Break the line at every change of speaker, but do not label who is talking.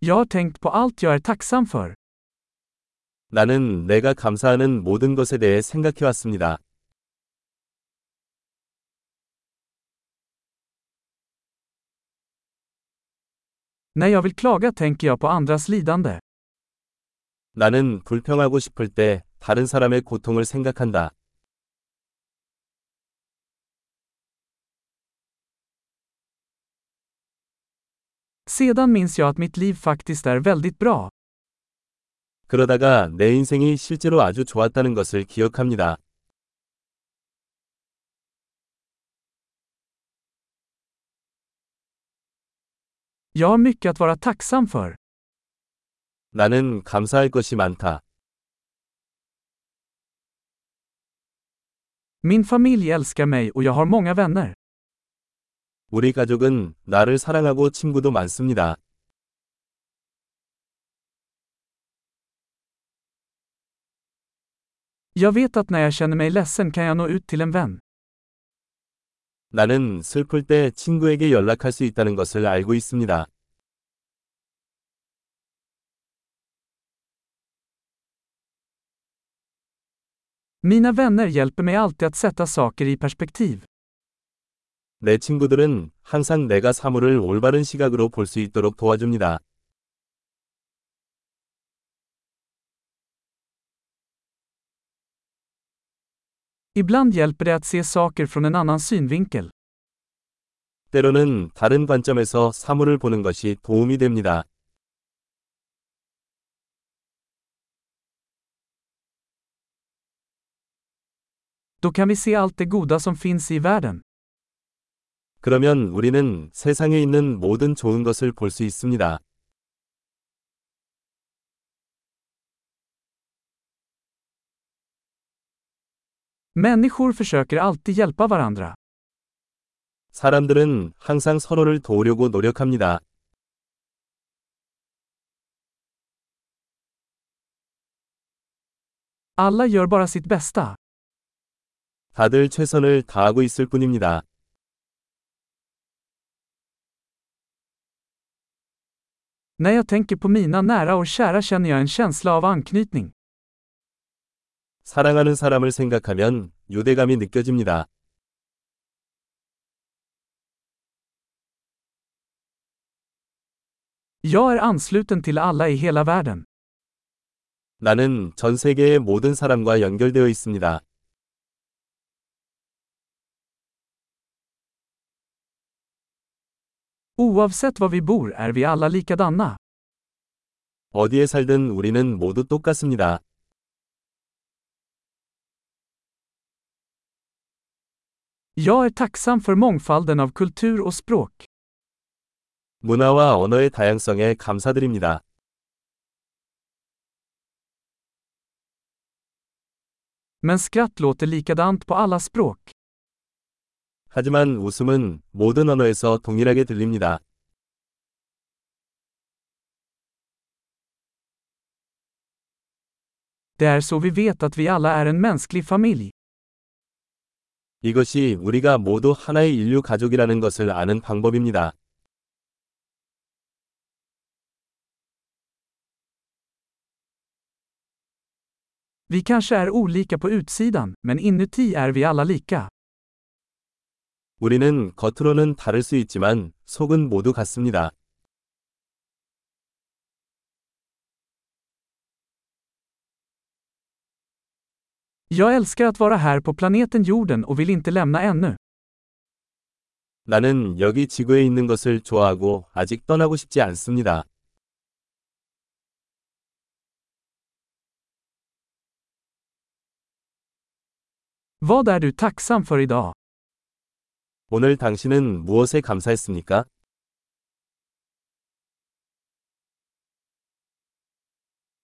Jag har tänkt på allt jag är tacksam för.
나는 내가 감사하는 모든 것에 대해 생각해 왔습니다.
När jag vill klaga tänker jag på andras lidande.
나는 불평하고 싶을 때 다른 사람의 고통을 생각한다.
Sedan minns jag att mitt liv faktiskt är väldigt bra.
그러다가 내 인생이 실제로 아주 좋았다는 것을 기억합니다.
Jag har mycket att vara tacksam för.
나는 감사할 것이 많다.
Min familj älskar mig och jag har många vänner.
우리 가족은 나를 사랑하고 친구도 많습니다.
Jag vet att när jag känner mig ledsen kan jag nå ut till en vän.
나는 슬플 때 친구에게 연락할 수 있다는 것을 알고 있습니다.
Mina vänner hjälper mig alltid att sätta saker i perspektiv.
내 친구들은 항상 내가 사물을 올바른 시각으로 볼 수 있도록 도와줍니다.
Ibland hjälper det att se saker från en annan synvinkel.
때로는 다른 관점에서 사물을 보는 것이 도움이 됩니다.
Då kan vi se allt det goda som finns i världen.
그러면 우리는 세상에 있는 모든 좋은 것을 볼 수 있습니다.
Människor försöker alltid hjälpa varandra.
사람들은 항상 서로를 도우려고 노력합니다.
Alla gör bara sitt bästa.
다들 최선을 다하고 있을 뿐입니다.
När jag tänker på mina nära och kära känner jag en känsla av anknytning.
사랑하는 사람을 생각하면 유대감이 느껴집니다.
Jag är ansluten till alla i hela världen.
나는 전 세계의 모든 사람과 연결되어 있습니다.
Oavsett var vi bor är vi alla likadana.
어디에 살든 우리는 모두 똑같습니다.
Jag är tacksam för mångfalden av kultur och språk.
문화와 언어의 다양성에 감사드립니다.
Men skratt låter likadant på alla språk.
하지만 웃음은 모든 언어에서 동일하게 들립니다.
Det är så vi vet att vi alla är en mänsklig familj.
이것이 우리가 모두 하나의 인류 가족이라는 것을 아는 방법입니다.
Vi kanske är olika på utsidan, men inuti är vi alla lika.
우리는 겉으로는 다를 수 있지만 속은 모두 같습니다.
Jag älskar att vara här på planeten jorden och vill inte lämna ännu.
나는 여기 지구에 있는 것을 좋아하고 아직 떠나고 싶지 않습니다.
Vad är du tacksam för idag?
오늘 당신은 무엇에 감사했습니까?